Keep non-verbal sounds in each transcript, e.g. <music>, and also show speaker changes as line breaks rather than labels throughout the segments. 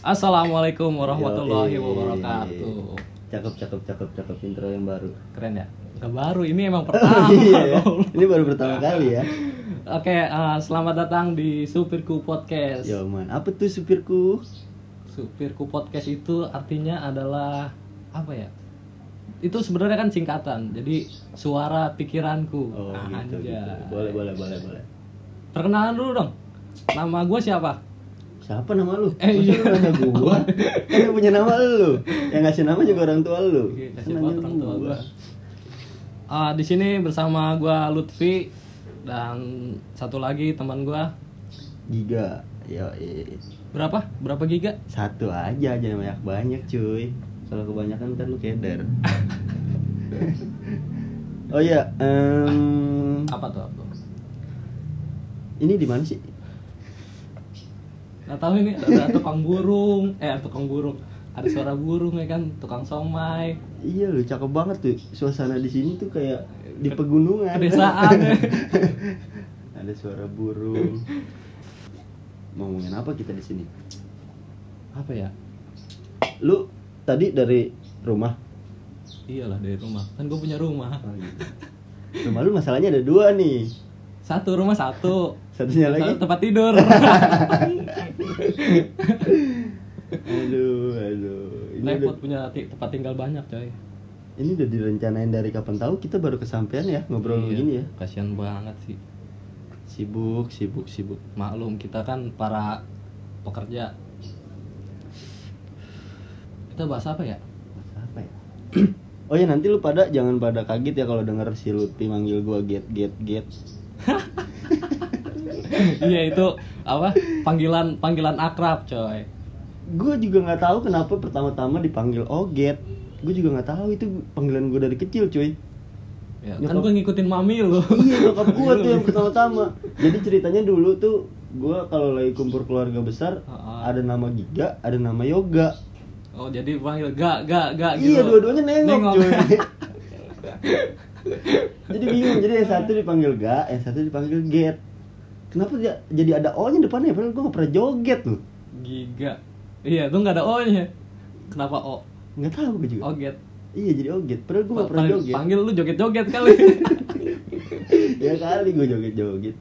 Assalamualaikum warahmatullahi
Yoi.
wabarakatuh.
Cakep, cakep, cakep, cakep intro yang baru.
Keren ya? Gak baru, ini <laughs> emang pertama.
<laughs> Iya ya. Ini baru pertama kali ya.
Oke, eh, selamat datang di Supirku Podcast.
Yo man, apa tuh supirku?
Supirku Podcast itu artinya adalah apa ya? Itu sebenarnya kan singkatan. Jadi suara pikiranku.
Oh gitu,
Ah, Anjay.
gitu. Boleh, boleh, boleh, boleh.
Perkenalan dulu dong. Nama gue siapa?
Siapa nama lu?
Eh,
Masa lu nanya
<laughs>
gua? Kan yang punya nama lu. Yang ngasih nama juga orang tua lu.
Oke,
Kan
kasih
nanya
Iya, buat orang tua
gua.
gua. Ah, di sini bersama gua Lutfi dan satu lagi teman gua.
Giga. Yo,
Berapa? Berapa giga?
satu aja jangan banyak banyak cuy. Kalau kebanyakan ntar lu
<laughs>
keder. oh iya, em,
Apa tuh? Apa?
ini di mana sih?
Nggak tahu ini ada tukang burung, eh tukang burung. Ada suara burung ya kan, tukang somai,
Iya lu cakep banget tuh suasana di sini tuh kayak di pegunungan.
pedesaan.
<laughs> Ada suara burung. Mau ngomongin apa kita di sini?
apa ya?
Lu tadi dari rumah.
Iyalah dari rumah. Kan gue punya rumah.
Oh, gitu. Rumah lu masalahnya ada dua nih.
Satu rumah satu.
Satunya
Satu
Iya lagi.
tempat
<laughs>
tidur.
Aduh, aduh. Ini udah,
Repot punya ti- tempat tinggal banyak, coy.
ini udah direncanain dari kapan tahu kita baru kesampaian ya ngobrol
Iya,
begini ya.
Kasihan banget sih.
Sibuk, sibuk, sibuk.
maklum kita kan para pekerja kita bahas apa ya <laughs>
apa ya? <clears throat> oh ya nanti lu pada jangan pada kaget ya kalau denger si Lutfi manggil gua get get get.
iya itu apa panggilan panggilan akrab coy
Gua juga nggak tahu kenapa pertama-tama dipanggil Oget. Gua juga nggak tahu itu panggilan gua dari kecil, cuy.
ya,
Nyokap-
kan gue ngikutin mami lo
Iya, nyokap gua tuh
<laughs>
yang pertama-tama. Jadi ceritanya dulu tuh gua kalau lagi kumpul keluarga besar
Heeh.
ada nama Giga, ada nama Yoga.
<laughs> oh jadi panggil gak gak gak gitu
Iya, dua-duanya nengok,
<laughs>
cuy. jadi bingung, jadi yang satu dipanggil Ga, yang satu dipanggil Get. Kenapa dia jadi ada O-nya depannya? Padahal gua nggak pernah joget loh.
giga iya tuh nggak ada o nya kenapa o
Nggak tahu gua juga.
oget
Iya jadi oget, padahal gua nggak pernah
Oh, Panggil-
joget.
panggil lu joget joget
<laughs>
kali
ya kali gua joget-joget.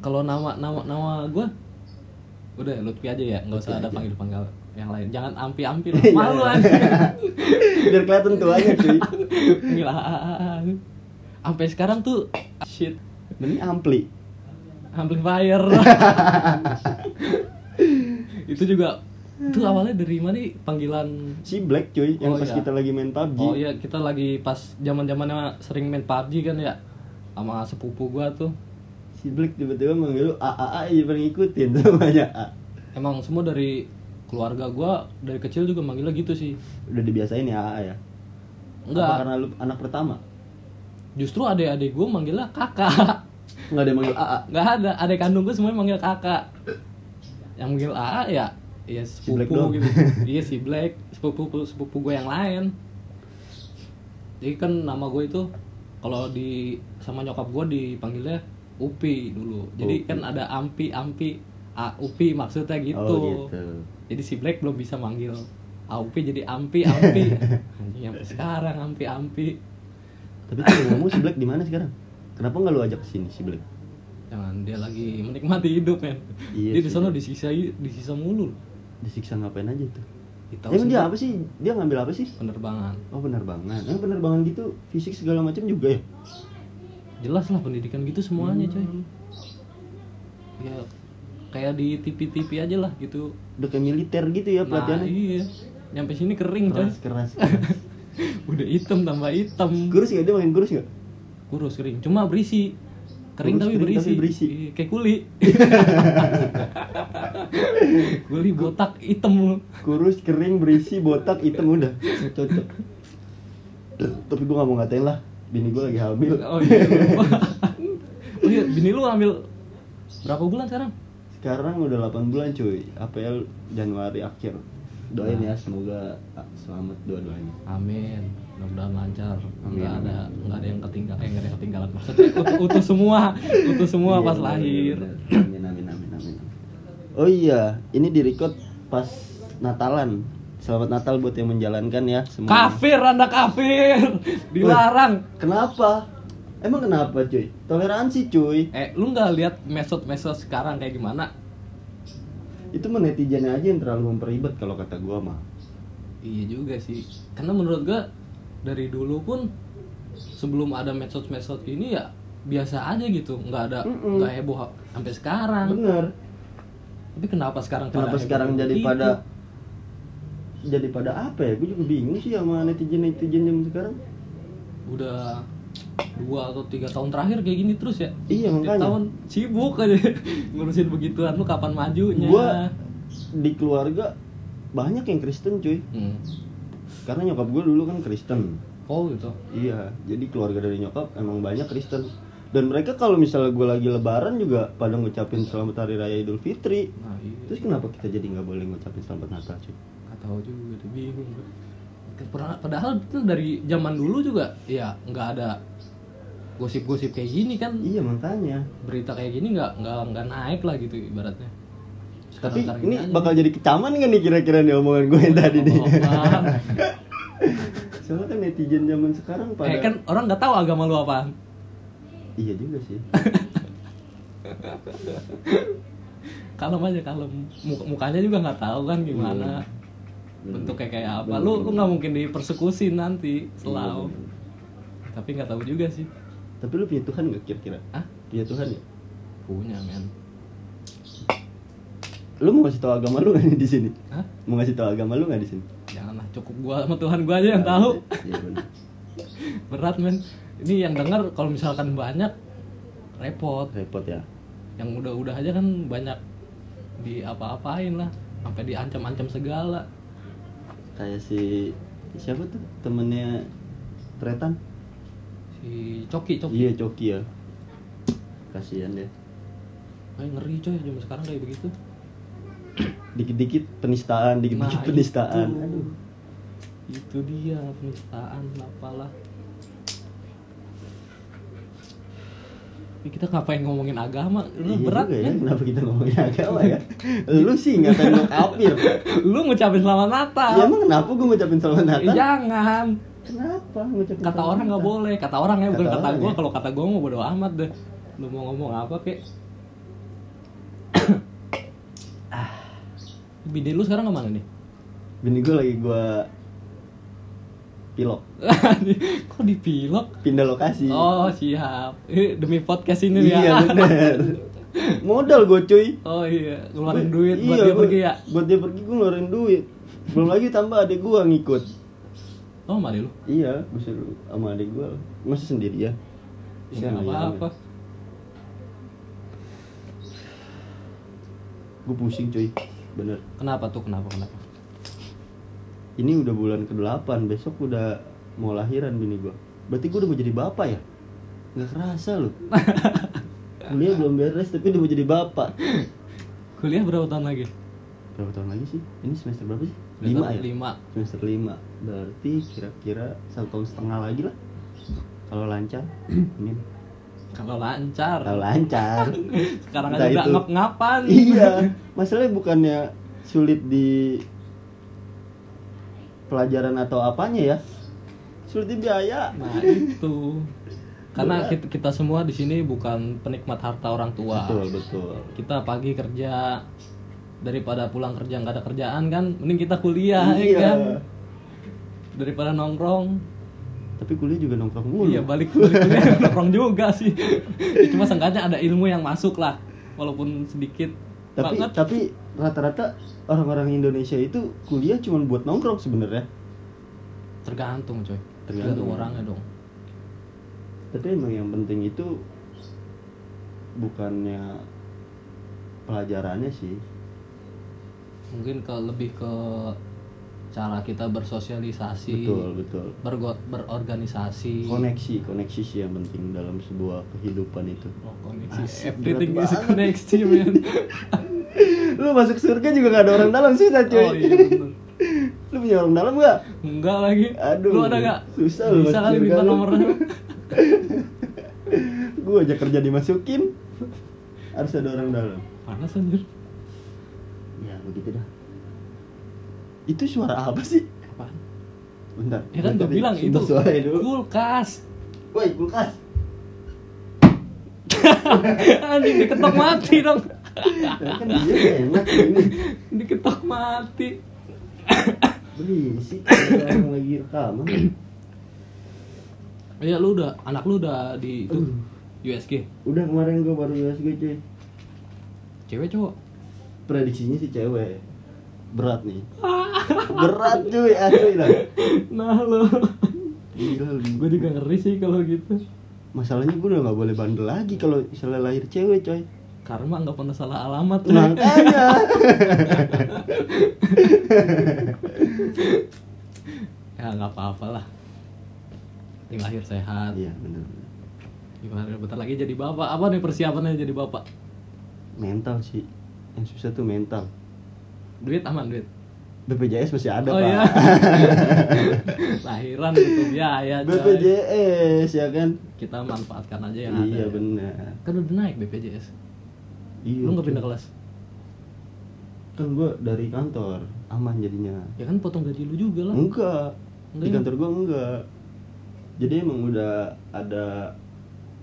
kalau nama nama nama gue udah Lutfi aja ya nggak usah
Lutfi
ada
aja.
panggil panggil yang lain jangan ampi ampi lah
<laughs> Iya.
malu <laughs> aja
Biar kelihatan tuanya cuy.
Penggilaan. Sampai sekarang tuh shit
Ini ampli.
amplifier. itu juga itu awalnya dari mana nih panggilan
Si Black cuy
Oh,
yang pas
iya.
kita lagi main PUBG.
Oh iya kita lagi pas zaman-zamannya sering main PUBG kan ya sama sepupu gua tuh.
Si Black tiba-tiba manggil lu A A A aja pengen ngikutin <laughs> namanya A.
Emang semua dari keluarga gua dari kecil juga manggilnya gitu sih.
Udah dibiasain ya A A ya. Apa
Enggak,
karena lu anak pertama?
justru adik-adik gua manggilnya kakak. <laughs>
Enggak ada yang manggil A A.
Enggak ada, adik kandung gua semuanya manggil kakak. Yang manggil AA ya ya
Black
sepupu
doang. <laughs>
gitu. iya si Black, sepupu sepupu gue yang lain. Jadi kan nama gue itu kalau di sama nyokap gue dipanggilnya Upi dulu. Jadi
Upi.
kan ada Ampi, Ampi, A Upi maksudnya gitu.
Oh gitu.
Jadi si Black belum bisa manggil A Upi jadi Ampi,
<laughs>
Ampi. Anjing sampai sekarang Ampi, Ampi.
Tapi tuh ngomong si Black di mana sekarang? Kenapa nggak lu ajak ke sini si Black?
Jangan dia lagi menikmati hidup men.
Iya
dia di
sih.
sana disiksa disiksa mulu.
Disiksa ngapain aja tuh?
Kita
Emang dia apa sih? Dia ngambil apa sih?
penerbangan.
Oh penerbangan. Emang penerbangan gitu fisik segala macam juga ya?
Jelas lah pendidikan gitu semuanya coy.
Hmm.
Ya kayak di TV-TV aja lah gitu.
Udah kayak militer gitu ya
Nah,
pelatihannya.
iya. Nyampe sini kering coy.
keras keras. keras.
<laughs> Udah hitam tambah hitam.
kurus nggak dia makin kurus nggak?
Kurus kering. Cuma berisi. Kering,
Kurus,
tapi,
kering,
berisi.
tapi berisi.
Iya, kayak
<laughs>
kuli. <laughs> kuli botak hitam lu.
Kurus kering berisi botak hitam udah cocok. Tapi gua nggak mau ngatain lah. Bini gua lagi hamil.
Oh iya. lupa. oh iya, bini lu ambil berapa bulan sekarang?
Sekarang udah 8 bulan cuy. APL Januari akhir. Doain ya semoga ah, selamat dua-duanya.
Amin. Mudah-mudahan lancar.
Amin,
Nggak
amin.
ada nggak ada yang ketinggalan, eh, nggak ada yang ketinggalan. Maksudnya utuh, utuh semua, utuh semua
Iya,
pas
bener,
lahir.
bener, bener. Amin amin amin amin. amin. Oh iya, ini direcord pas Natalan. Selamat Natal buat yang menjalankan ya semua.
Kafir Anda kafir. Dilarang.
Kenapa? Emang kenapa cuy? Toleransi cuy.
Eh, lu nggak lihat mesot-mesot sekarang kayak gimana?
Itu mah netizennya aja yang terlalu memperibet kalau kata gua mah.
Iya juga sih. Karena menurut gua dari dulu pun sebelum ada medsos-medsos gini ya biasa aja gitu, nggak ada
Mm-mm.
nggak heboh ha- sampai sekarang.
Bener.
Tapi kenapa sekarang pada
Kenapa
heboh
sekarang jadi
begitu?
pada jadi pada apa ya? Gue juga bingung sih sama netizen netizen yang sekarang.
udah dua atau tiga tahun terakhir kayak gini terus ya?
Iya,
Tiap
makanya.
tahun sibuk aja <laughs> ngurusin begituan lu kapan majunya?
Gua- Di keluarga banyak yang Kristen cuy.
Hmm.
Karena nyokap gue dulu kan Kristen.
Oh gitu.
Iya, jadi keluarga dari nyokap emang banyak Kristen. Dan mereka kalau misalnya gue lagi lebaran juga pada ngucapin selamat hari raya Idul Fitri.
Nah, iya.
Terus kenapa kita jadi nggak boleh ngucapin selamat Natal cuy?
Gak tahu juga tuh bingung gue. Padahal, padahal itu dari zaman dulu juga ya nggak ada gosip-gosip kayak gini kan
Iya makanya.
berita kayak gini nggak nggak nggak naik lah gitu ibaratnya.
Tapi
Sekarang-sekarang
ini
gini aja.
bakal jadi kecaman nggak nih kira-kira nih omongan gue <laughs> yang tadi
Oh,
nih?
Apa-apaan.
<laughs> Soalnya kan netizen zaman sekarang pada.
eh kan orang nggak tahu agama lu apaan.
Iya juga sih.
Kalem aja kalem. Muka- mukanya juga nggak tahu kan gimana.
Bener.
Bentuknya kayak apa.
Bener,
Lu
bener.
lu nggak mungkin dipersekusi nanti selalu.
Iya, bener.
Tapi nggak tahu juga sih.
Tapi lu punya Tuhan nggak kira-kira?
Ah,
Punya Tuhan ya?
punya men.
Lu mau ngasih tau agama lu nggak nih di sini?
Hah?
Mau ngasih tau agama lu nggak di sini?
Janganlah cukup gua sama Tuhan gua aja yang tahu.
Iya bener.
<laughs> berat men ini yang denger kalau misalkan banyak repot
Repot ya.
yang udah-udah aja kan banyak di apa-apain lah sampai diancam-ancam segala
kayak si siapa tuh temennya Tretan
si coki coki
iya Coki ya kasihan deh Iya.
Ay, ngeri coy zaman sekarang kayak begitu
dikit-dikit penistaan dikit-dikit
Nah,
penistaan
itu.
aduh
itu dia penistaan apalah Ini kita ngapain ngomongin agama lu
Iya
berat
juga ya
men.
kenapa kita ngomongin agama ya lu sih ngatain gue kafir
lu ngucapin selamat
ya
natal
emang kenapa gue ngucapin selamat
Eh,
natal
jangan
kenapa ngucapin
kata
selamat
orang nggak
Natal?
boleh kata orang ya bukan
Kata
kata,
orang
gua
ya.
kalau kata gua mau bodo amat deh lu mau ngomong apa
<coughs>
kek Ah. bini lu sekarang kemana nih <laughs>
bini gue lagi gue pilok
kok dipilok
pindah lokasi
oh siap Eh, demi podcast ini ya
iya bener modal gue cuy
<laughs> oh iya ngeluarin
Gua-
duit buat
iya,
dia
gua-
pergi ya
buat dia pergi gue ngeluarin duit belum lagi tambah adik gue ngikut
oh mari lu
iya gue suruh sama adik gue masih sendiri ya
Iya,
Iya,
nggak apa apa
gue iya. pusing cuy bener
kenapa tuh kenapa kenapa
ini udah bulan ke-8 besok udah mau lahiran bini gue berarti gue udah mau jadi bapak ya nggak kerasa
<laughs>
loh kuliah belum beres tapi udah mau jadi bapak
kuliah berapa tahun lagi
berapa tahun lagi sih ini semester berapa sih
Udah
lima
tahun
ya
lima
semester lima berarti kira-kira satu tahun setengah lagi lah kalau lancar <clears throat> ini
kalau lancar
kalau lancar
<laughs> sekarang aja
Entah
udah
itu.
ngap ngapan
<laughs> iya masalahnya bukannya sulit di pelajaran atau apanya ya sulit di biaya
Nah itu karena kita, kita semua di sini bukan penikmat harta orang tua.
betul betul
Kita pagi kerja daripada pulang kerja nggak ada kerjaan kan, mending kita kuliah ya
Iya.
kan daripada nongkrong.
tapi kuliah juga nongkrong mulu
Iya balik balik kuliah <laughs> nongkrong juga sih. Ya, Cuma seenggaknya ada ilmu yang masuk lah, walaupun sedikit
tapi
banget.
tapi rata-rata orang-orang Indonesia itu kuliah cuma buat nongkrong sebenarnya
Tergantung coy, tergantung,
Tergantung.
orangnya dong.
tapi emang yang penting itu bukannya pelajarannya sih
Mungkin ke lebih ke cara kita bersosialisasi,
betul betul
bergo- berorganisasi.
koneksi koneksi sih yang penting dalam sebuah kehidupan itu
Oh, koneksi.
Asik,
Everything
berat
is a connection,
<laughs>
man.
lu masuk surga juga gak ada orang dalam susah cuy
oh iya bener.
<laughs> lu punya orang dalam gak
Enggak lagi.
Aduh,
Lu ada gak?
susah lu
Bisa
masuk
kali
surga
minta
lu.
nomornya.
gua aja kerja dimasukin <laughs> harus ada orang dalam Ya,
Panas anjir.
begitu dah itu suara apa sih
Apaan?
bentar
Ya kan
bentar
gue
nih,
bilang itu
sumber suaranya dulu
kulkas.
woi kulkas
Anjing <laughs> diketok mati dong.
Nah, kan dia enak ini
Diketok mati.
berisik orang lagi
<coughs>
rekaman
Iya lu udah anak lu udah di itu
Aduh.
USG.
udah kemarin gue baru USG cuy
Cewek cowok.
prediksinya sih cewek berat
<laughs>
nih berat cuy asli lah
Nah lu.
Gila, lu.
gue juga ngeri sih kalau gitu.
masalahnya gue udah nggak boleh bandel lagi kalau misalnya lahir cewek coy
Karma nggak pernah salah alamat. lu.
Nah. makanya
<laughs> ya nggak apa-apalah. Yang lahir sehat.
iya bener bener.
Gimana bentar lagi jadi bapak. Apa nih persiapannya jadi bapak?
mental sih yang susah tuh mental
Duit aman duit.
BPJS masih ada
oh
pak <laughs>
iya. Lahiran itu biaya. coy.
BPJS ya kan
Kita manfaatkan aja yang
iya
ada.
bener
Kan udah naik BPJS.
iya
Lu nggak
cuy.
pindah kelas?
kan gue dari kantor aman jadinya
Ya kan potong gaji lu juga
Hmm?
lah.
enggak di
Enggak ya?
kantor gue enggak jadi emang udah ada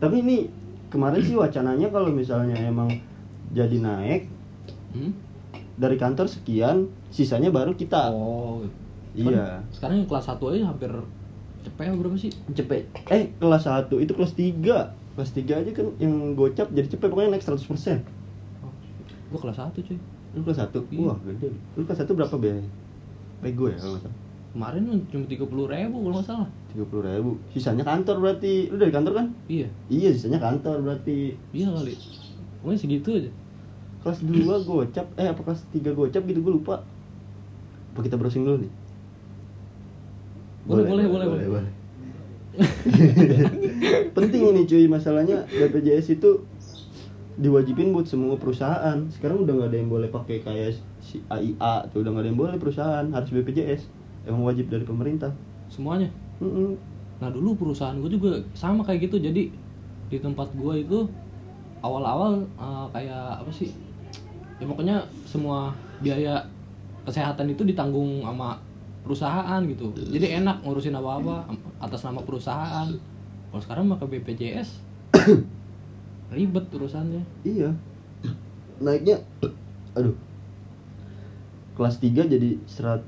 tapi ini kemarin sih wacananya kalau misalnya emang jadi naik
Hmm?
dari kantor sekian sisanya baru kita
Oh.
Ah. iya
Sekarang yang kelas 1 aja hampir cepet berapa sih?
cepet eh kelas 1 itu kelas 3 kelas 3 aja kan yang gocap jadi cepet pokoknya naik 100%
Oh, gua kelas 1 cuy.
lu kelas 1
Iya.
wah gede lu kelas 1 berapa biayanya kayak gue ya kalau nggak salah
Kemarin cuma 30 ribu kalau nggak salah.
tiga ribu sisanya kantor berarti lu dari kantor kan
Iya,
iya sisanya kantor berarti
iya kali. Pokoknya segitu aja.
kelas 2 gocap eh apa kelas 3 gocap gitu gue lupa apa kita browsing dulu nih
Boleh, boleh, boleh, boleh.
<laughs> penting ini cuy masalahnya BPJS itu diwajibin buat semua perusahaan sekarang udah nggak ada yang boleh pakai kayak si AIA tuh udah nggak ada yang boleh perusahaan harus BPJS emang wajib dari pemerintah
Semuanya.
Mm-mm.
Nah dulu perusahaan gue juga sama kayak gitu jadi di tempat gue itu awal-awal eh, kayak apa sih ya pokoknya semua biaya kesehatan itu ditanggung sama perusahaan gitu jadi enak ngurusin apa-apa atas nama perusahaan kalau sekarang mah ke
<coughs>
BPJS ribet urusannya
Iya. Naiknya aduh. Kelas 3 jadi 110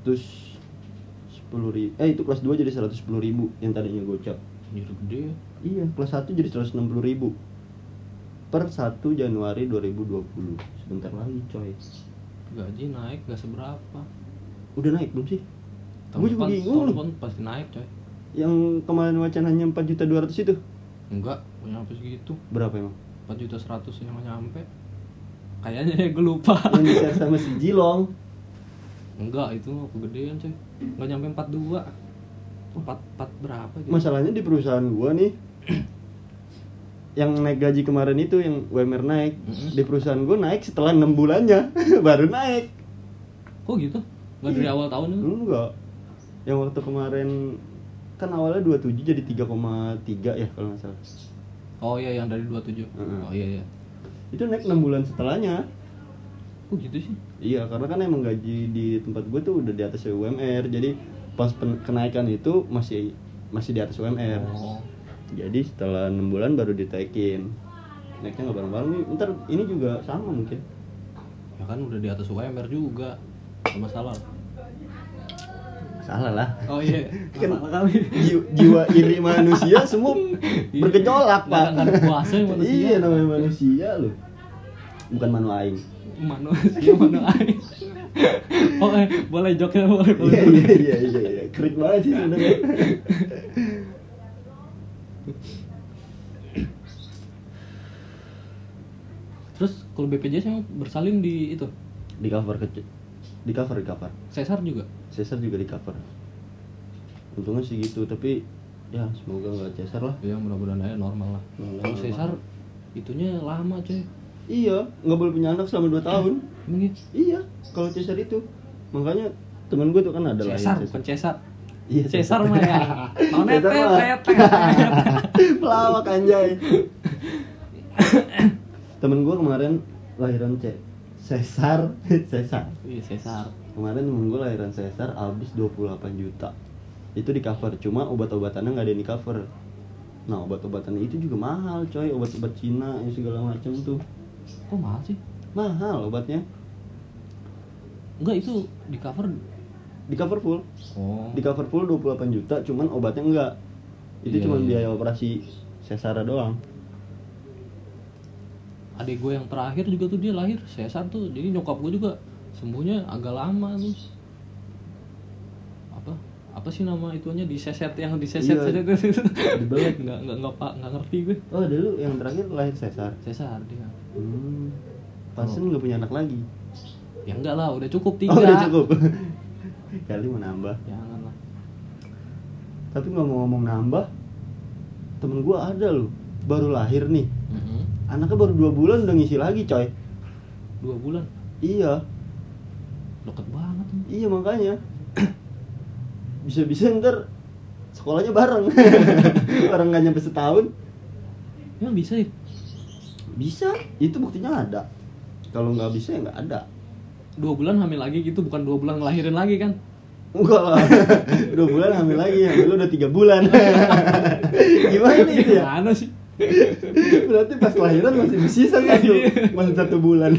ribu. Eh itu kelas 2 jadi 110 ribu yang tadinya gocap.
jadi gede
Iya, kelas 1 jadi 160 ribu. Per 1 Januari 2020. Sebentar lagi, coy.
gaji naik gak seberapa
Udah naik belum sih?
tahun
Gua juga
depan,
bingung
tahun
lu.
depan pasti naik coy
Yang kemarin wacananya 4 juta 200 itu
enggak punya apa segitu
berapa emang?
4 juta 100 yang nyampe kayaknya ya gue
<laughs>
lupa
Yang di share sama si Jilong.
enggak itu mah kegedean coy enggak nyampe 42 4 4 berapa gitu
Masalahnya di perusahaan gua nih <clears throat> yang naik gaji kemarin itu yang UMR naik
Mm-mm.
di perusahaan gua naik setelah enam bulannya <laughs> baru naik
kok gitu enggak
Iya.
dari awal tahun itu
enggak yang waktu kemarin kan awalnya 27 jadi 3,3 ya kalau nggak salah
oh iya yang dari 27
Mm-mm.
oh iya iya
itu naik enam bulan setelahnya
kok gitu sih
iya karena kan emang gaji di tempat gua tuh udah di atas UMR jadi pas pen- kenaikan itu masih masih di atas UMR
oh
Jadi setelah enam bulan baru ditaikin. Naiknya nggak bareng-bareng nih. Ntar ini juga sama mungkin.
ya kan udah di atas UMR juga sama salah
Salah lah.
oh iya
<laughs> Kan-
salah kali
Jiwa, jiwa iri manusia semua
Iya.
bergejolak pak.
Nggak akan puasa yang manusia.
Iya namanya manusia loh. Bukan manu aing.
manusia manusia oh eh, boleh joknya boleh boleh
Iya iya iya iya. iya. Krik banget sih sebenarnya.
terus kalau BPJS yang bersalin di itu
Di cover kecil. Di cover di cover.
sesar juga
Cesar juga di cover. Untungnya sih gitu tapi ya semoga nggak Cesar lah.
ya mudah-mudahan aja normal lah
Normal,
kalau
normal.
sesar itunya lama coy
Iya nggak boleh punya anak selama 2 tahun.
emang ya
Iya, kalau Cesar itu. Makanya temen gue tuh kan ada
Cesar
lain
bukan Cesar
Iya,
Cesar
<laughs>
mah ya Nonet
Cesar mah.
tet tet
<laughs> Pelawak <coughs> anjay. temen gue kemarin lahiran C Cesar <laughs> Cesar
Iya, sesar.
kemarin temen gue lahiran Cesar habis 28 juta itu di cover cuma obat-obatannya nggak ada yang di cover nah obat-obatannya itu juga mahal coy obat-obat Cina yang segala macam tuh
Kok mahal sih?
mahal obatnya
Enggak itu di cover.
di cover full
Oh.
di cover full 28 juta cuman obatnya enggak itu
Iya,
cuma
iya.
biaya operasi sesara doang
Adik gue yang terakhir juga tuh dia lahir sesar tuh. Jadi nyokap gue juga sembuhnya agak lama tuh. Apa? Apa sih nama ituannya diseset yang diseset
Iya.
seset itu?
Dibelet.
<laughs> Enggak enggak enggak pak enggak ngerti gue.
oh dulu yang terakhir lahir sesar
Sesar dia.
hmm.
Oh.
Pasen nggak punya anak lagi
Ya enggak lah, udah cukup tiga.
oh udah cukup <laughs> kali mau nambah
Jangan lah.
tapi ngomong-ngomong nambah temen gua ada loh baru lahir nih
Mm-mm.
anaknya baru dua bulan udah ngisi lagi coy
Dua bulan,
iya
deket banget. tuh.
iya makanya <coughs> bisa-bisa ntar sekolahnya bareng <laughs> bareng nggak nyampe setahun
Emang bisa ya?
bisa itu buktinya ada kalau nggak bisa ya nggak ada <laughs>
Dua bulan hamil lagi gitu, bukan dua bulan ngelahirin lagi kan?
enggak lah <laughs> dua bulan hamil lagi hamil udah tiga bulan <laughs> gimana itu ya
Gimana sih?
berarti pas lahiran masih bersisa
Iya.
satu masih satu bulan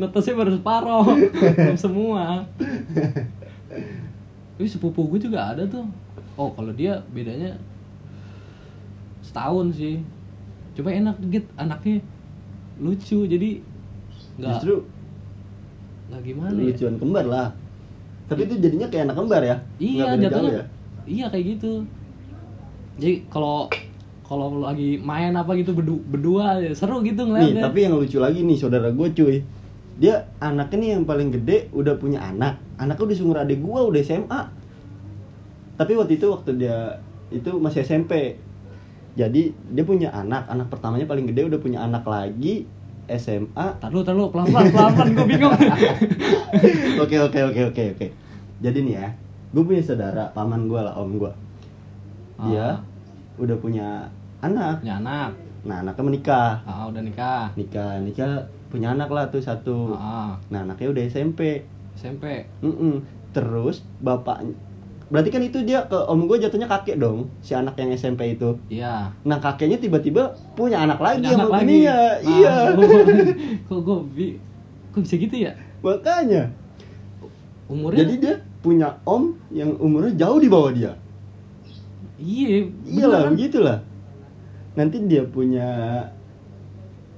Netesnya baru separoh Belum semua Tapi sepupu gue juga ada tuh Oh kalau dia bedanya Setahun sih Cuma enak gitu anaknya Lucu jadi nggak
justru
nggak gimana ya
lucuan kembar lah tapi itu jadinya kayak anak kembar ya Nggak
Iya
beda jauh
jatuhnya Iya kayak gitu Jadi kalau kalau lagi main apa gitu berdu- berdua seru gitu
Nih,
ngeliatnya
tapi yang lucu lagi nih saudara gue cuy. Dia anaknya nih yang paling gede udah punya anak. Anaknya udah seumur adik gue udah SMA. Tapi waktu itu waktu dia itu masih SMP. Jadi dia punya anak, anak pertamanya paling gede udah punya anak lagi
<laughs>
SMA.
Ntar lu, ntar lu, pelan-pelan, pelan-pelan, gue bingung <laughs>
Oke oke oke oke oke. Jadi nih ya, gue punya saudara, paman gue lah, om gue.
Ah.
Dia udah punya anak.
Punya anak,
Nah anaknya menikah,
ah, udah nikah
nikah nikah punya anak lah tuh satu.
Ah,
Nah anaknya udah SMP.
SMP.
Mm-mm. Terus bapaknya Berarti kan itu dia ke om gue jatuhnya kakek dong Si anak yang SMP itu
Iya.
Nah kakeknya tiba-tiba punya anak lagi
Punya
sama bininya.
Ah, <laughs>
Iya
gua- Kok gue kok bisa gitu ya?
Makanya
Umurnya
Jadi dia punya om yang umurnya jauh di bawah dia
Iya,
Iyalah
beneran.
begitulah Nanti dia punya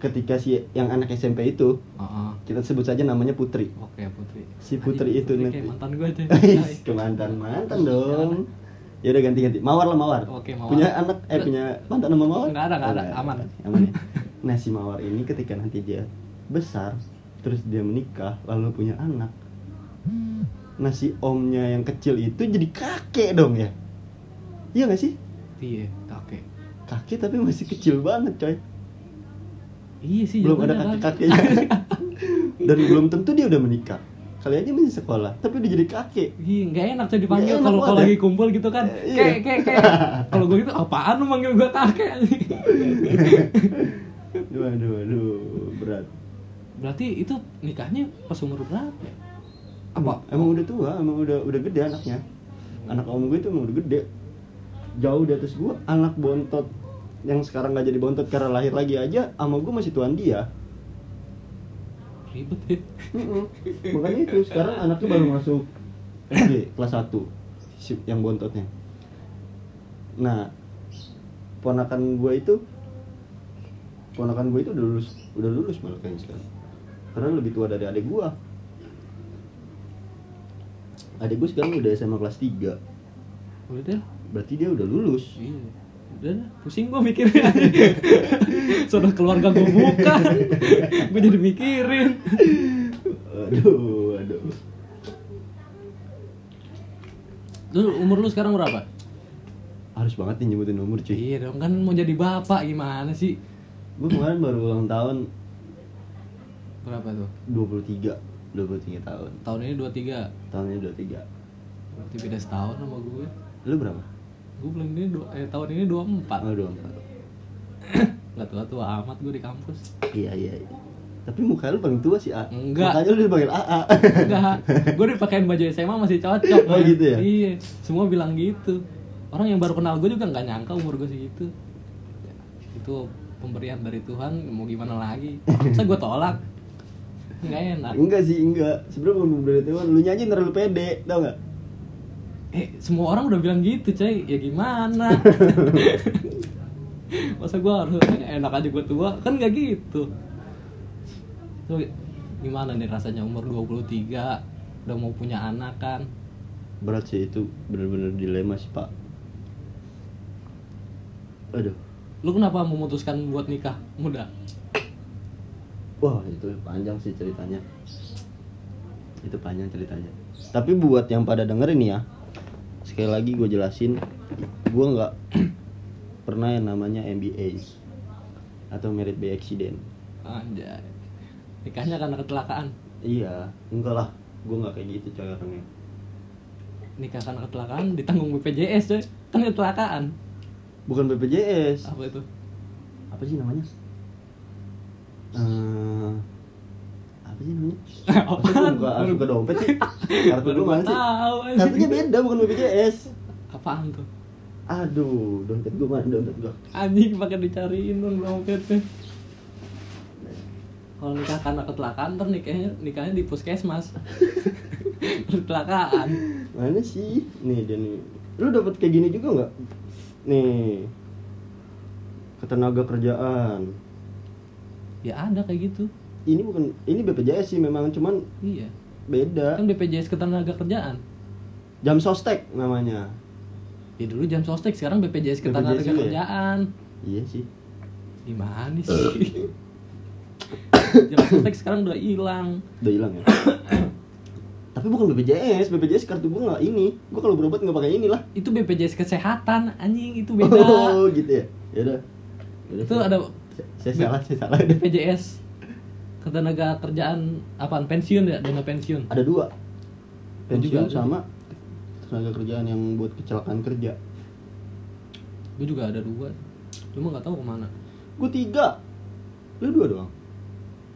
Ketika si yang anak SMP itu
Ah, ah.
Kita sebut saja namanya Putri
Oke, Putri.
Si Putri
Anjing,
itu nanti.
kayak mantan Iya. gue tuh.
<laughs> Ke mantan-mantan dong ya udah ganti-ganti mawar lah mawar
iya. Oke, Mawar.
punya anak eh punya mantan nama mawar
Nggak ada, nggak ada.
Oh,
Aman.
aman ya. nah si mawar ini ketika nanti dia besar terus dia menikah lalu punya anak nah si omnya yang kecil itu jadi kakek dong ya iya nggak sih
Iya, kakek.
kakek tapi masih kecil banget coy
Iya sih,
belum ada
jatuhnya
kakek
kan. <laughs>
kakeknya dan belum tentu dia udah menikah kali aja masih sekolah tapi udah jadi kakek
Iya, nggak enak tuh dipanggil
Nggak enak
kalau kalau
banget ya.
lagi kumpul gitu kan.
Eh, iya.
Kek, kek, kek. Kalau gue gitu apaan lu manggil gue kakek?
aduh aduh aduh berat
Berarti itu nikahnya pas umur berapa? ya? Apa?
Emang udah tua, emang udah udah gede anaknya. Anak om gue itu emang udah gede. Jauh di atas gue, anak bontot yang sekarang nggak jadi bontot karena lahir lagi aja, sama gue masih tuan dia.
Ribet ya.
Mm-mm. Makanya itu sekarang anaknya baru masuk SD kelas 1 si- yang bontotnya. Nah, ponakan gue itu ponakan gue itu udah lulus udah lulus malah kayaknya sekarang karena lebih tua dari adik gue adik gue sekarang udah SMA kelas 3
Udah deh.
berarti dia udah lulus
Iya. Udah dah, pusing gua <laughs> mikirin. Saudara keluarga gua bukan. gua jadi mikirin.
aduh aduh
Lu umur lu sekarang berapa?
harus banget nih nyebutin umur cuy
Iya dong, kan mau jadi bapak gimana sih?
gue kemarin baru ulang tahun
Berapa tuh?
23 23 tahun
Tahun ini 23.
tahunnya 23
Berarti beda setahun sama gue.
Lu berapa?
Gue bulan ini dua, eh, tahun ini 24.
Oh, 24
Gak tua-tua amat gue di kampus.
Iya, iya, iya Tapi muka lu paling tua sih, A.
Enggak.
Makanya lu dipanggil AA.
Enggak, gue dipakein baju SMA masih cocok.
Oh,
men.
gitu ya?
Iya, semua bilang gitu. Orang yang baru kenal gue juga nggak nyangka umur gue segitu. Ya, Itu pemberian dari Tuhan, mau gimana lagi? Masa gue tolak? Nggak enak.
<laughs> enggak sih, enggak. Sebenarnya bukan bener teman, lu nyanyi terlalu pede, tau gak?
Eh, semua orang udah bilang gitu, coy. Ya gimana?
<laughs>
Masa gue harus "Eh, enak aja gue tua? Kan nggak gitu. Lu gimana nih rasanya umur 23 udah mau punya anak kan?
Berat sih itu, bener-bener dilema sih, Pak. Aduh.
Lu kenapa memutuskan buat nikah muda?
Wah, itu panjang sih ceritanya. Itu panjang ceritanya. Tapi buat yang pada dengerin nih ya, sekali lagi gue jelasin, gue nggak <clears throat> pernah yang namanya MBA atau merit by accident.
Anjay. Nikahnya karena kecelakaan.
Iya, enggak lah, gue nggak kayak gitu coy orangnya.
Nikah karena kecelakaan ditanggung BPJS, coy. Kan kecelakaan.
Bukan BPJS,
Apa itu?
apa sih namanya? Eh, apa sih <laughs> namanya?
Apaan?
Apa sih gua buka, harus buka dompet <laughs> sih? Kartu
Baru
lu
gua
mana sih?
tahu, anjing.
Kartunya beda, bukan BPJS.
Apaan tuh?
Aduh, dompet gue mana dompet gue?
Anjing pakai dicariin dong dompetnya. Kalau nikah karena kecelakaan ntar nikahnya nikahnya di
<laughs>
puskesmas. kecelakaan.
Mana sih? Nih dan lu dapat kayak gini juga nggak? Nih ketenaga kerjaan.
Ya ada kayak gitu.
Ini bukan ini BPJS sih memang cuman
Iya.
beda.
Kan BPJS ketenaga kerjaan.
Jam sostek namanya.
Ya dulu jam sostek sekarang BPJS ketenaga
BPJS juga ya?
kerjaan.
Iya sih.
Gimana
<laughs>
sih? jam sostek sekarang udah hilang.
Udah hilang ya. <coughs> Tapi bukan BPJS, BPJS kartu gue nggak ini. Gue kalau berobat nggak pakai inilah.
Itu BPJS kesehatan anjing itu beda.
Oh gitu ya. Ya udah.
Itu ada
saya salah, saya salah.
BPJS ketenaga kerjaan apaan pensiun ya dana pensiun
<laughs> Ada dua.
Dan juga
Pensiun
ada.
sama tenaga kerjaan yang buat kecelakaan kerja.
gue juga ada dua cuma nggak tahu kemana
Gue tiga. Lu dua doang.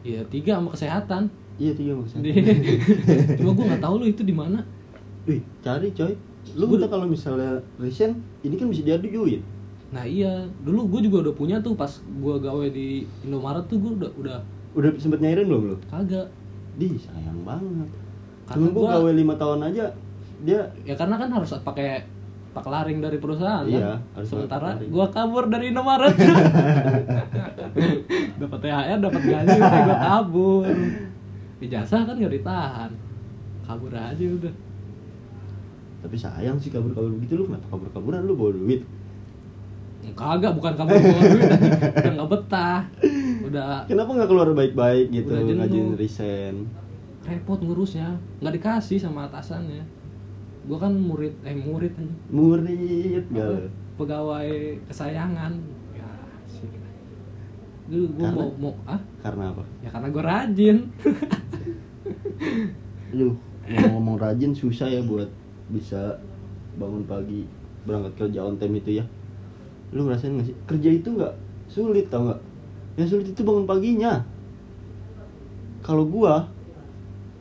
ya tiga sama kesehatan
Iya tiga maksudnya.
<laughs> cuma gue nggak tahu lu itu di mana
<laughs> Wih, cari coy. Lu
Gua-
kita kalau misalnya recent, ini kan bisa diaduin.
nah iya dulu gue juga udah punya tuh pas gue gawe di Indomaret tuh gue udah udah
Udah sempet nyairin belum lu?
kagak
Di sayang banget.
Karena
Temen gua
gua-
gawe lima tahun aja dia
ya karena kan harus pakai pak laring dari perusahaan
Iya,
kan?
harus
sementara
pakai laring.
gue kabur dari
<laughs>
Indomaret dapat THR dapat gaji udah gue kabur ijazah kan nggak ditahan kabur aja udah
tapi sayang sih kabur-kabur begitu lu kenapa kabur-kaburan lu bawa duit
Ya, kagak bukan kabur bawa duit anjing. udah nggak betah udah
kenapa nggak keluar baik-baik gitu
Udah jenuh.
rajin recent
repot ngurusnya nggak dikasih sama atasannya gue kan murid eh murid anjing.
murid gak
Apa?
lu?
pegawai kesayangan ya sih dulu gue
Karena?
mau mau ah
karena apa
ya karena gue rajin <laughs>
lu ngomong rajin susah ya buat bisa bangun pagi berangkat kerja on time itu ya lu ngerasain nggak sih kerja itu nggak sulit tau nggak yang sulit itu bangun paginya kalau gua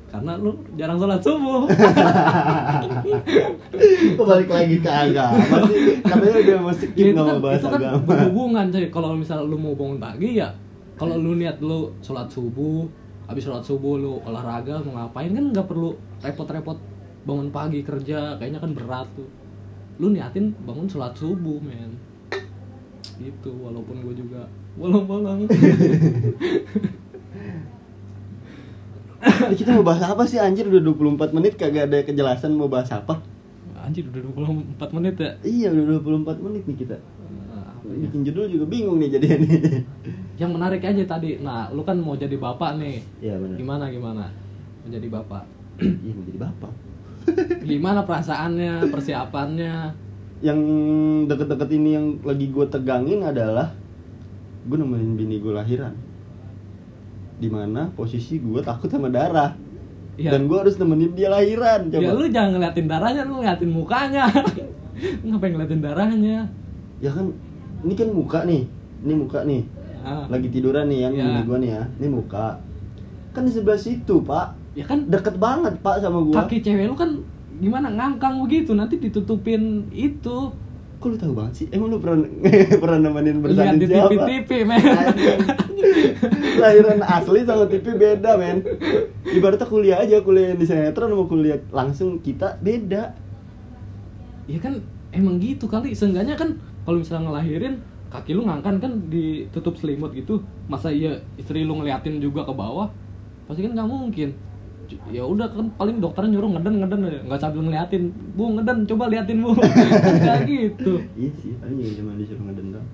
karena lu jarang sholat subuh
balik lagi ke agama sih katanya udah mau skip
Ya, itu
nggak
kan,
mau bahas
itu kan
agama
berhubungan coy kalau misal lu mau bangun pagi ya kalau lu niat lu sholat subuh habis sholat subuh lu olahraga mau ngapain kan nggak perlu repot-repot bangun pagi kerja kayaknya kan berat tuh lu niatin bangun sholat subuh men gitu walaupun gue juga bolong-bolong
Ini <laughs> kita mau bahas apa sih anjir udah 24 menit kagak ada kejelasan mau bahas apa
anjir udah 24 menit ya
iya udah 24 menit nih kita
Eh, apa ya?
bikin judul juga bingung nih jadinya
<laughs>
nih
yang menarik aja tadi nah lu kan mau jadi bapak nih
iya benar
gimana gimana mau jadi bapak
<clears throat> iya menjadi bapak
gimana perasaannya persiapannya
yang deket-deket ini yang lagi gue tegangin adalah gue nemenin bini gue lahiran dimana posisi gue takut sama darah
Iya.
dan gue harus nemenin dia lahiran coba
ya
ya,
lu jangan ngeliatin darahnya lu ngeliatin mukanya <laughs> ngapain ngeliatin darahnya
kan ini kan muka nih ini muka nih
Ah,
lagi tiduran nih ya
Iya.
bini gue nih ya ini muka kan di sebelah situ pak
ya kan
deket banget pak sama gua
kaki cewek lu kan gimana ngangkang begitu nanti ditutupin itu
kok lu tahu banget sih emang lu pernah <laughs> pernah nemenin
lihat
bersanding
di
siapa Nah,
TV-TV men
Anjing. lahiran asli sama TV beda men ibaratnya kuliah aja kuliah yang di sinetron sama kuliah langsung kita beda
ya kan emang gitu kali seenggaknya kan kalau misalnya ngelahirin kaki lu ngangkan kan ditutup selimut gitu masa iya istri lu ngeliatin juga ke bawah pasti kan nggak mungkin C- ya udah kan paling dokternya nyuruh ngeden ngeden aja. nggak sambil ngeliatin bu ngeden coba liatin bu <laughs> Kan nggak gitu
iya sih paling ya cuma disuruh ngedendam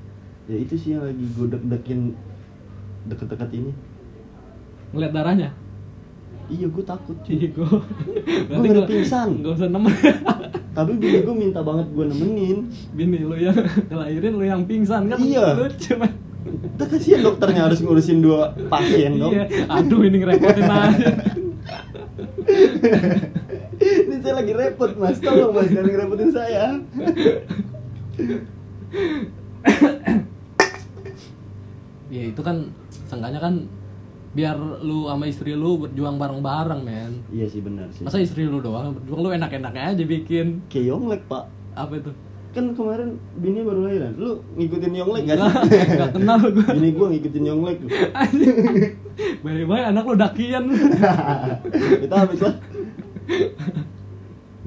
ya itu sih yang lagi gue deg-dekin deket-deket ini
ngeliat darahnya
iya gue takut cuy
Cigo
Gua ngeri pingsan.
gak usah nemen
tapi bini gue minta banget gue nemenin
<laughs> bini lu yang ngelahirin lu yang pingsan kan
Iya.
lucu men
Kita kasihan dokternya harus ngurusin dua pasien dong
iya aduh ini ngerepotin aja
Ini saya lagi repot mas, tolong mas jangan ngerepotin saya
ya itu kan seenggaknya kan biar lu sama istri lu berjuang bareng-bareng men
Iya sih benar sih
masa istri lu doang berjuang lu enak-enaknya aja bikin
Kayak Yonglek pak
apa itu
Kan kemarin bini baru lahiran, lu ngikutin Yonglek gak sih?
<laughs> nggak kenal gue
Bini gue ngikutin Yonglek lu.
baik-baik anak lu dakian
Kita habis lah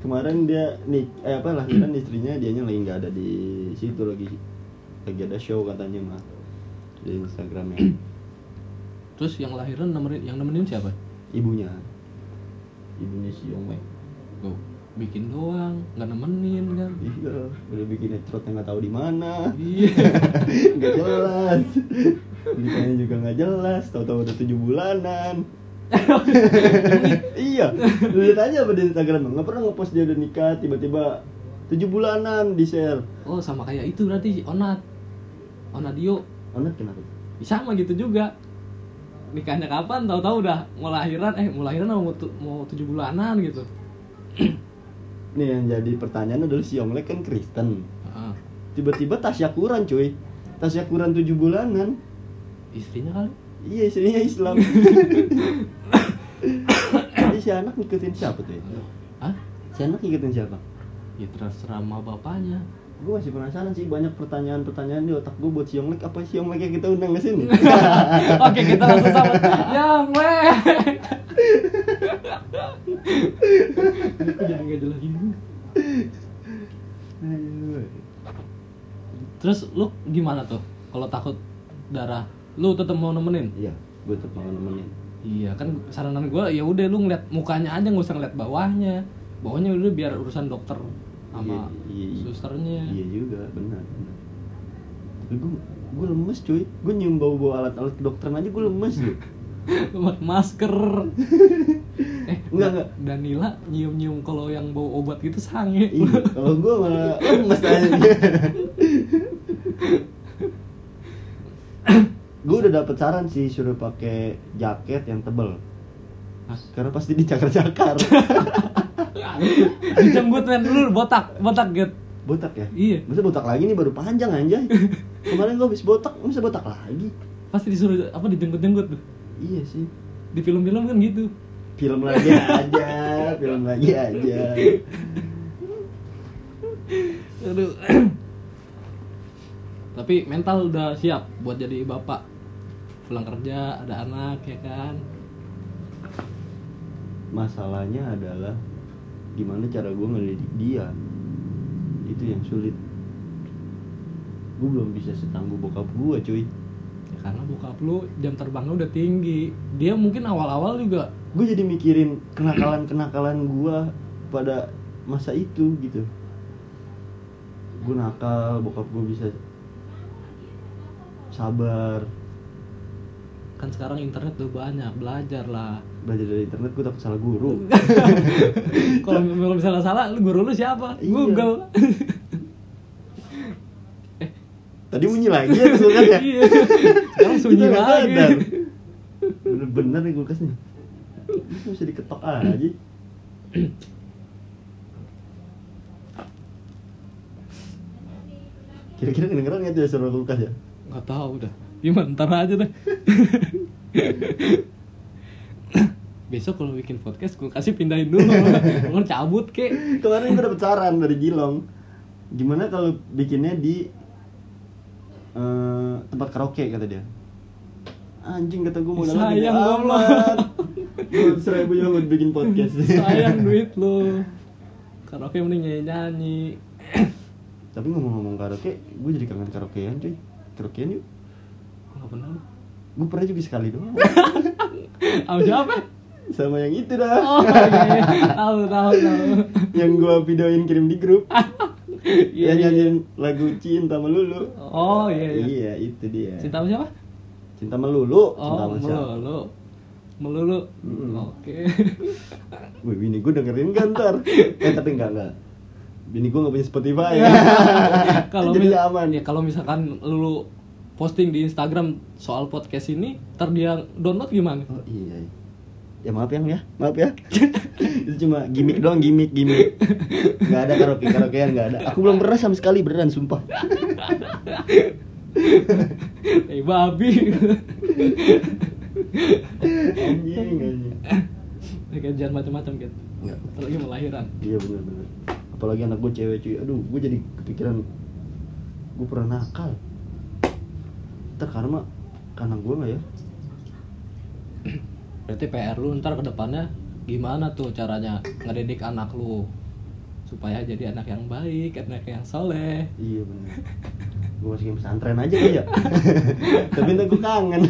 Kemarin dia nih eh apa lahiran istrinya dianya lagi nggak ada di situ lagi lagi ada show katanya mah di Instagramnya
terus yang lahiran nemenin yang nemenin siapa
ibunya ibunya si Yonglek
gue bikin doang nggak nemenin kan
Iya, udah bikin etrot yang nggak tahu di mana, <laughs>
iya
nggak jelas. Nikahnya juga nggak jelas, tahu-tahu udah tujuh bulanan. <laughs> iya, lu lihat aja apa di Instagram nggak pernah ngepost dia udah nikah, tiba-tiba tujuh bulanan di share.
oh sama kayak itu berarti si onat onadio
Anak kenapa?
sama gitu juga nikahnya kapan tahu-tahu udah mau lahiran eh mau lahiran apa mau, tu- mau tujuh bulanan gitu
Nih yang jadi pertanyaan adalah si Yonglek kan Kristen.
Heeh.
Tiba-tiba tasyakuran cuy, tasyakuran tujuh bulanan.
istrinya kali
Iya istrinya Islam. Jadi si anak ngikutin siapa tuh? ya?
Hah?
Si anak ngikutin siapa?
Ya terserah sama bapaknya
gue masih penasaran sih banyak pertanyaan-pertanyaan di otak gue buat Siong Lek apa Siong Lek yang kita undang ke
<laughs>
sini
<laughs> Oke kita langsung sama Yang weh Aku jadi nggak jelas gini. Terus lu gimana tuh kalau takut darah Lu tetap mau nemenin?
iya gue tetap mau nemenin
Iya kan saranan gue ya udah lu ngeliat mukanya aja nggak usah ngeliat bawahnya Bawahnya udah biar urusan dokter sama
Iya, iya, iya.
susternya
iya juga benar benar tapi gue gue lemes cuy gue nyium bau bau alat-alat kedokteran aja gue lemes loh
<laughs> pakai masker
<laughs>
eh
Enggak, enggak.
Danila nyium nyium kalau yang bau obat gitu sange <laughs>
iya kalau gue malah lemes aja gue udah dapet saran sih suruh pakai jaket yang tebel
Hah?
karena pasti dicakar-cakar
dijembut men lu botak botak gitu
botak ya
iya
Masa botak lagi nih baru panjang anjay Kemarin gua habis botak, masa botak lagi?
pasti disuruh apa dijenggut jenggut tuh
Iya sih
di film-film kan gitu
Film lagi aja, film lagi aja
aduh <clears throat> tapi mental udah siap buat jadi bapak pulang kerja ada anak ya kan
Masalahnya adalah Gimana cara gua ngelidik dia Itu yang sulit Gue belum bisa setangguh bokap gua cuy
ya karena bokap lu jam terbangnya udah tinggi dia mungkin awal-awal juga
Gue jadi mikirin kenakalan-kenakalan gua pada masa itu gitu Gue nakal, bokap gue bisa sabar
kan sekarang internet udah banyak belajar
<laughs>
lah
belajar dari internet gue takut salah guru
kalau kalau misalnya salah lu guru lu siapa
Iya. <laughs>
Google
tadi bunyi lagi ya kulkas ya
iya sekarang sunyi
Kita nggak
lagi
sadar. bener-bener nih kulkasnya Ini bisa diketok aja kira-kira kedengeran nggak tuh ya suara kulkas ya
nggak tahu udah gimana ntar aja deh <laughs> besok kalau bikin podcast gue kasih pindahin
<laughs>
dulu gue cabut kek
Kemarin gue dapet saran dari Jilong. Gimana kalau bikinnya di eh, tempat karaoke kata dia. Anjing kata gue modalnya gede
Sayang, goblok.
amat. Dua seribu yang buat bikin podcast.
sayang duit lu karaoke mending nyanyi nyanyi
Tapi ngomong-ngomong karaoke, gue jadi kangen karaokean cuy. Karaokean yuk.
<clears throat> nggak pernah lu
Gue pernah juga sekali doang. <laughs>
Sama siapa
Sama yang itu dah.
oh iya tahu tahu tahu
Yang gue videoin kirim di grup.
Ah, Iya,
yang
iya.
nyanyiin lagu cinta melulu.
Oh, iya, iya.
Iya itu dia.
cinta sama siapa
Cinta melulu. cinta
oh
sama siapa?
melulu melulu
Mm. <laughs>
oke
Wih, bini gue dengerin kan
<laughs>
ntar Eh tapi enggak, enggak Bini gue gak punya Spotify <laughs> ya
Iya. kalau
Jadi
mi-
aman
ya kalau misalkan lu posting di Instagram soal podcast ini ntar dia download gimana
Oh iya iya. Ya maaf yang ya, maaf ya <laughs> Itu cuma gimmick doang, gimmick, gimmick Gak ada karaoke, karaokean gak ada Aku belum pernah sama sekali beneran, sumpah
<laughs> eh babi <laughs>
Anjing, anjing
Kayak jangan macam-macam gitu
Enggak,
lagi mau lahiran
iya bener-bener Apalagi anak gue cewek cuy, aduh gue jadi kepikiran Gue pernah nakal Ntar karma, karena gue gak ya
berarti PR lu ntar kedepannya gimana tuh caranya ngedidik anak lu supaya jadi anak yang baik anak yang soleh
Iya bener Gue masukin pesantren aja kali ya <laughs> Tapi ntar gue kangen <laughs>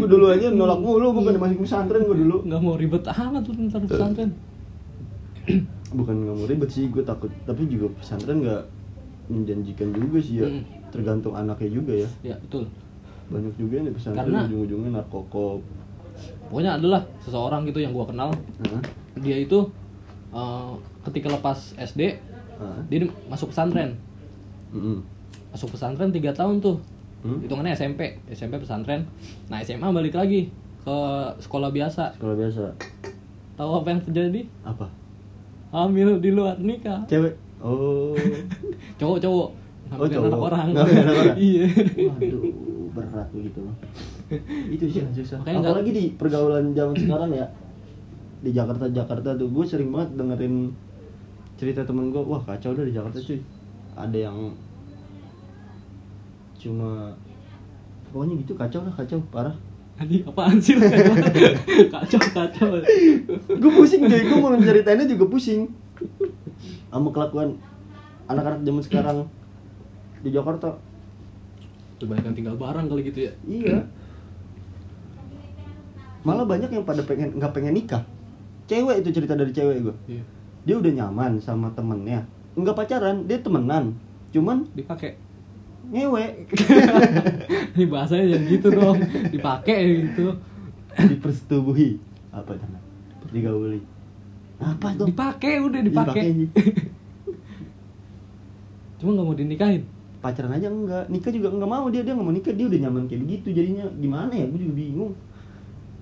Gue dulu aja nolak mulu Gue pengen masukin pesantren gue dulu
nggak mau ribet amat tuh ntar pesantren
Bukan gak mau ribet sih Gue takut Tapi juga pesantren gak menjanjikan juga sih ya
Hmm.
Tergantung anaknya juga ya
ya betul
Banyak juga yang di pesantren
Karena-
ujung-ujungnya narkokop
pokoknya adalah seseorang gitu yang gua kenal
Hah?
dia itu eh, ketika lepas SD
Hah? Hmm.
dia di- masuk pesantren
Mm-mm.
masuk pesantren 3 tahun tuh
Hmm?
hitungannya SMP SMP pesantren nah SMA balik lagi ke sekolah biasa
Sekolah biasa
tahu apa yang terjadi
Apa?
hamil di luar nikah
Cewek? Oh
cowok cowok
Oh,
ngambil
cowok.
anak orang
Ngambil anak orang.
<laughs> iya
Waduh berat begitu loh itu sih yang susah
Makanya nggak-
apalagi di pergaulan zaman sekarang ya di Jakarta Jakarta tuh gue sering banget dengerin cerita temen gue wah kacau dah di Jakarta cuy ada yang cuma pokoknya gitu kacau lah kacau parah
Anjing apaan sih
<laughs>
lu? kacau kacau
gue pusing deh gue mau ceritainnya juga pusing sama kelakuan anak-anak zaman sekarang di Jakarta
Tuh banyak yang tinggal bareng kali gitu ya
Iya. Malah banyak yang pada pengen nggak pengen nikah. Cewek itu cerita dari cewek gue.
iya
Dia udah nyaman sama temennya. Nggak pacaran, dia temenan. Cuman
dipakai
ngewe <laughs>
ini bahasanya jangan gitu dong dipakai gitu
dipersetubuhi. Apa itu? Digauli. Apa tuh?
dipakai udah eh, dipakai
Dipakai.
cuma nggak mau dinikahin
Pacaran aja enggak, nikah juga enggak mau dia dia nggak mau nikah dia udah nyaman kayak begitu jadinya gimana ya gue juga bingung.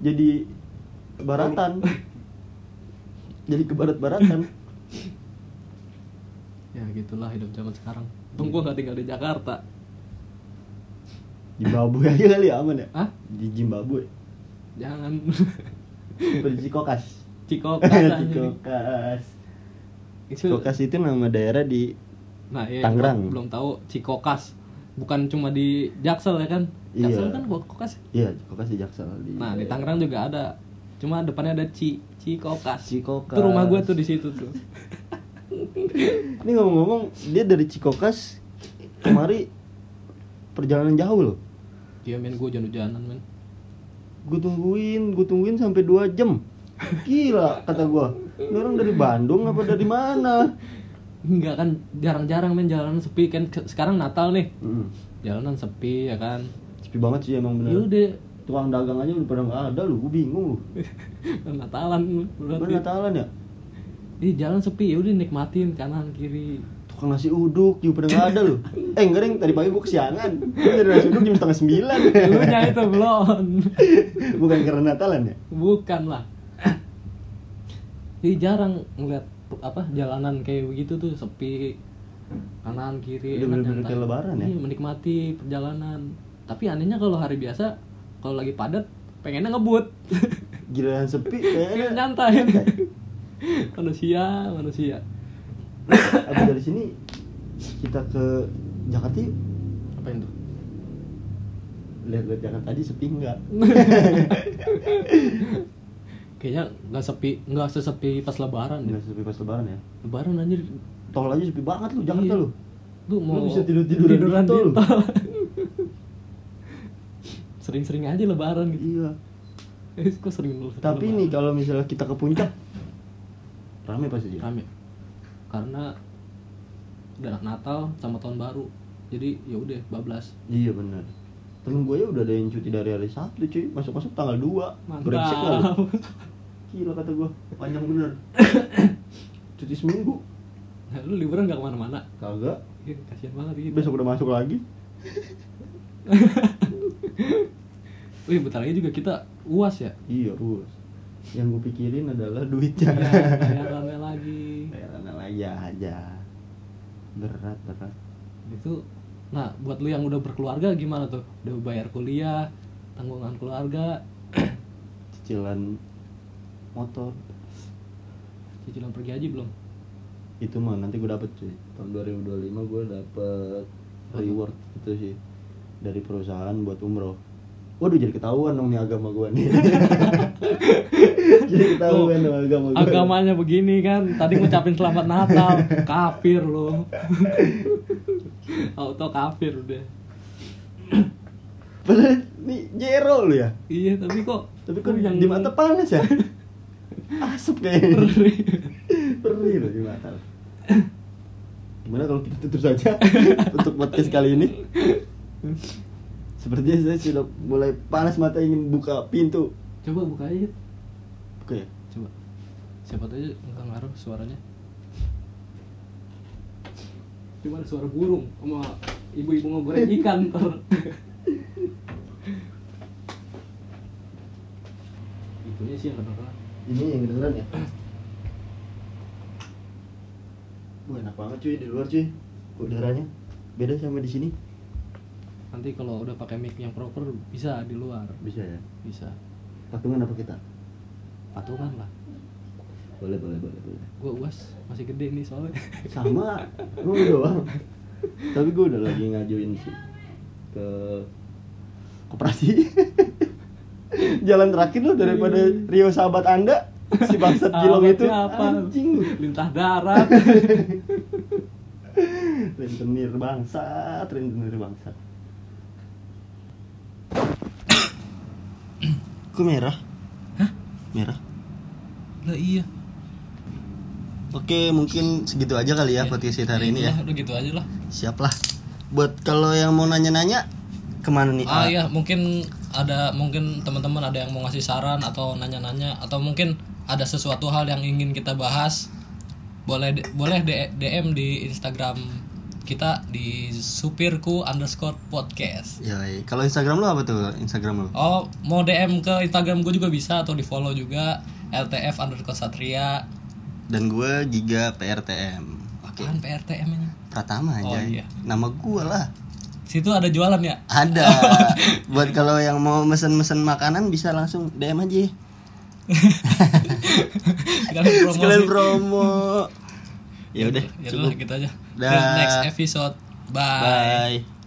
Jadi baratan. Jadi kebarat-baratan.
ya gitulah hidup zaman sekarang untung gua nggak tinggal di Jakarta
di Zimbabwe <laughs> aja kali ya aman ya?
Hah?
Di Zimbabwe.
<laughs> jangan
Seperti Cikokas. <laughs>
Ya, cikokas anjing.
Cikokas.
Itu-
Cikokas itu nama daerah di
Nah, iya,
Tangerang.
belum- Belum tahu Cikokas. Bukan cuma di Jaksel ya kan? Jaksel
Iya.
kan Kokas.
Iya, Cikokas di Jaksel di.
Nah, di Tangerang juga ada. Cuma depannya ada Ci Cikokas.
Cikokas.
Itu rumah gua tuh di situ tuh.
Ini ngomong-ngomong, dia dari Cikokas kemari perjalanan jauh loh.
Iya men gua hujan-hujanan men.
Gue tungguin, gue tungguin sampai 2 jam. Gila kata gua. Ini orang dari Bandung apa dari mana?
Enggak kan jarang-jarang men jalanan sepi kan Ke- sekarang Natal nih.
Mm.
Jalanan sepi ya kan.
Sepi banget sih emang
Ya
bener.
udah <laughs>
Tukang dagang aja udah pada nggak ada lu, gue bingung lu.
Natalan
Bener
berarti.
Natalan ya?
Di jalan sepi ya udah nikmatin kanan kiri.
tukang nasi uduk juga pada nggak ada loh eh enggak Reng, tadi pagi gue kesiangan gue nyari nasi uduk jam setengah sembilan <laughs>
Lu Ya itu belum.
bukan karena Natalan ya
Bukan lah. Jadi jarang ngeliat apa jalanan kayak begitu tuh sepi kanan kiri enak
Udah bener-bener
nyantai.
kayak lebaran ya?
Iya, menikmati perjalanan tapi anehnya kalau hari biasa kalau lagi padat pengennya ngebut <laughs>
giliran sepi
pengen
kayaknya <laughs>
nyantai manusia manusia
abis dari sini kita ke Jakarta yuk
apa itu
lihat-lihat Jakarta tadi sepi nggak
Iya. kayaknya nggak sepi nggak sesepi pas lebaran deh.
nggak sepi pas lebaran ya
lebaran anjir
tol aja sepi banget lu Jakarta
Iya.
lu
lu mau
bisa tidur-tiduran di tol.
tol. <laughs> sering-sering aja lebaran gitu
iya
Eh, kok sering lu
tapi nih
lebaran?
kalau misalnya kita ke puncak rame pasti aja
rame karena udah Natal sama tahun baru jadi ya udah bablas
iya benar temen gue ya udah ada yang cuti dari hari Sabtu cuy masuk-masuk tanggal 2 brengsek nggak lu?
mantap
gila kata gue panjang <coughs> bener cuti seminggu
<laughs> nah, lu liburan gak kemana-mana
kagak
Ih, kasihan banget gitu
besok udah masuk lagi
wih bentar lagi juga kita uas
<laughs>
ya
iya bos yang gue pikirin adalah
ya
duitnya
kayak lagi
Heran lagi aja berat berat
itu nah buat lu yang udah berkeluarga gimana tuh udah bayar kuliah tanggungan keluarga
cicilan motor
cicilan pergi haji belum
itu mah nanti gue dapet cuy tahun 2025 gue dapet reward gitu sih dari perusahaan buat umroh waduh jadi ketahuan dong nih agama gue nih <laughs> jadi ketahuan dong kan agama gue
agamanya begini kan tadi ngucapin selamat natal
<laughs>
kafir lu <laughs> auto kafir udah
padahal nih jero lu ya
iya tapi kok
tapi kok di
<laughs>
mata panas ya asap kayaknya perih loh di mata lo. gimana kalau kita tutup saja untuk podcast kali ini sepertinya saya sudah mulai panas mata ingin buka pintu
coba buka aja
buka ya
coba siapa tahu aja nggak ngaruh suaranya cuma ada suara burung sama ibu-ibu ngegoreng ikan ntar. <laughs> itunya sih yang kedengeran
ini yang kedengeran ya Wah, enak banget cuy di luar cuy udaranya beda sama di sini
nanti kalau udah pakai mic yang proper bisa di luar
bisa ya
bisa
patungan apa kita
patungan lah
boleh boleh boleh boleh
gua uas masih gede nih <laughs> soalnya
sama gue doang tapi gue udah lagi ngajuin sih ke koperasi jalan terakhir lo daripada Rio sahabat anda si bangsat Jilong itu
Alamatnya Iya. apa
anjing lu.
lintah darat
rentenir bangsat rentenir bangsat kok merah merah
lah iya
Oke, mungkin segitu aja kali
Iya.
ya podcast kita hari ini ya.
udah gitu aja lah
Siap lah. Buat kalau yang mau nanya-nanya kemana nih?
Ah iya, mungkin ada mungkin teman-teman ada yang mau ngasih saran atau nanya-nanya atau mungkin ada sesuatu hal yang ingin kita bahas. Boleh d- boleh D- DM di Instagram kita di supirku underscore podcast.
Yoi. Ya, Kalau Instagram lu apa tuh? Instagram lu?
Oh, mau DM ke Instagram gue juga bisa atau di follow juga LTF underscore Satria.
Dan gue Giga PRTM. Oke.
Apaan PRTM ini?
Pratama
Oh,
aja.
iya.
Nama gue
<laughs>
lah.
Situ ada jualan ya?
Ada. Buat kalau yang mau mesen-mesen makanan bisa langsung DM aja. <laughs>
Sekalian promosi.
Sekalian promo. ya udah,
<laughs> Ya udah,
cukup.
gitu aja.
Dah.
Next episode. Bye.
Bye.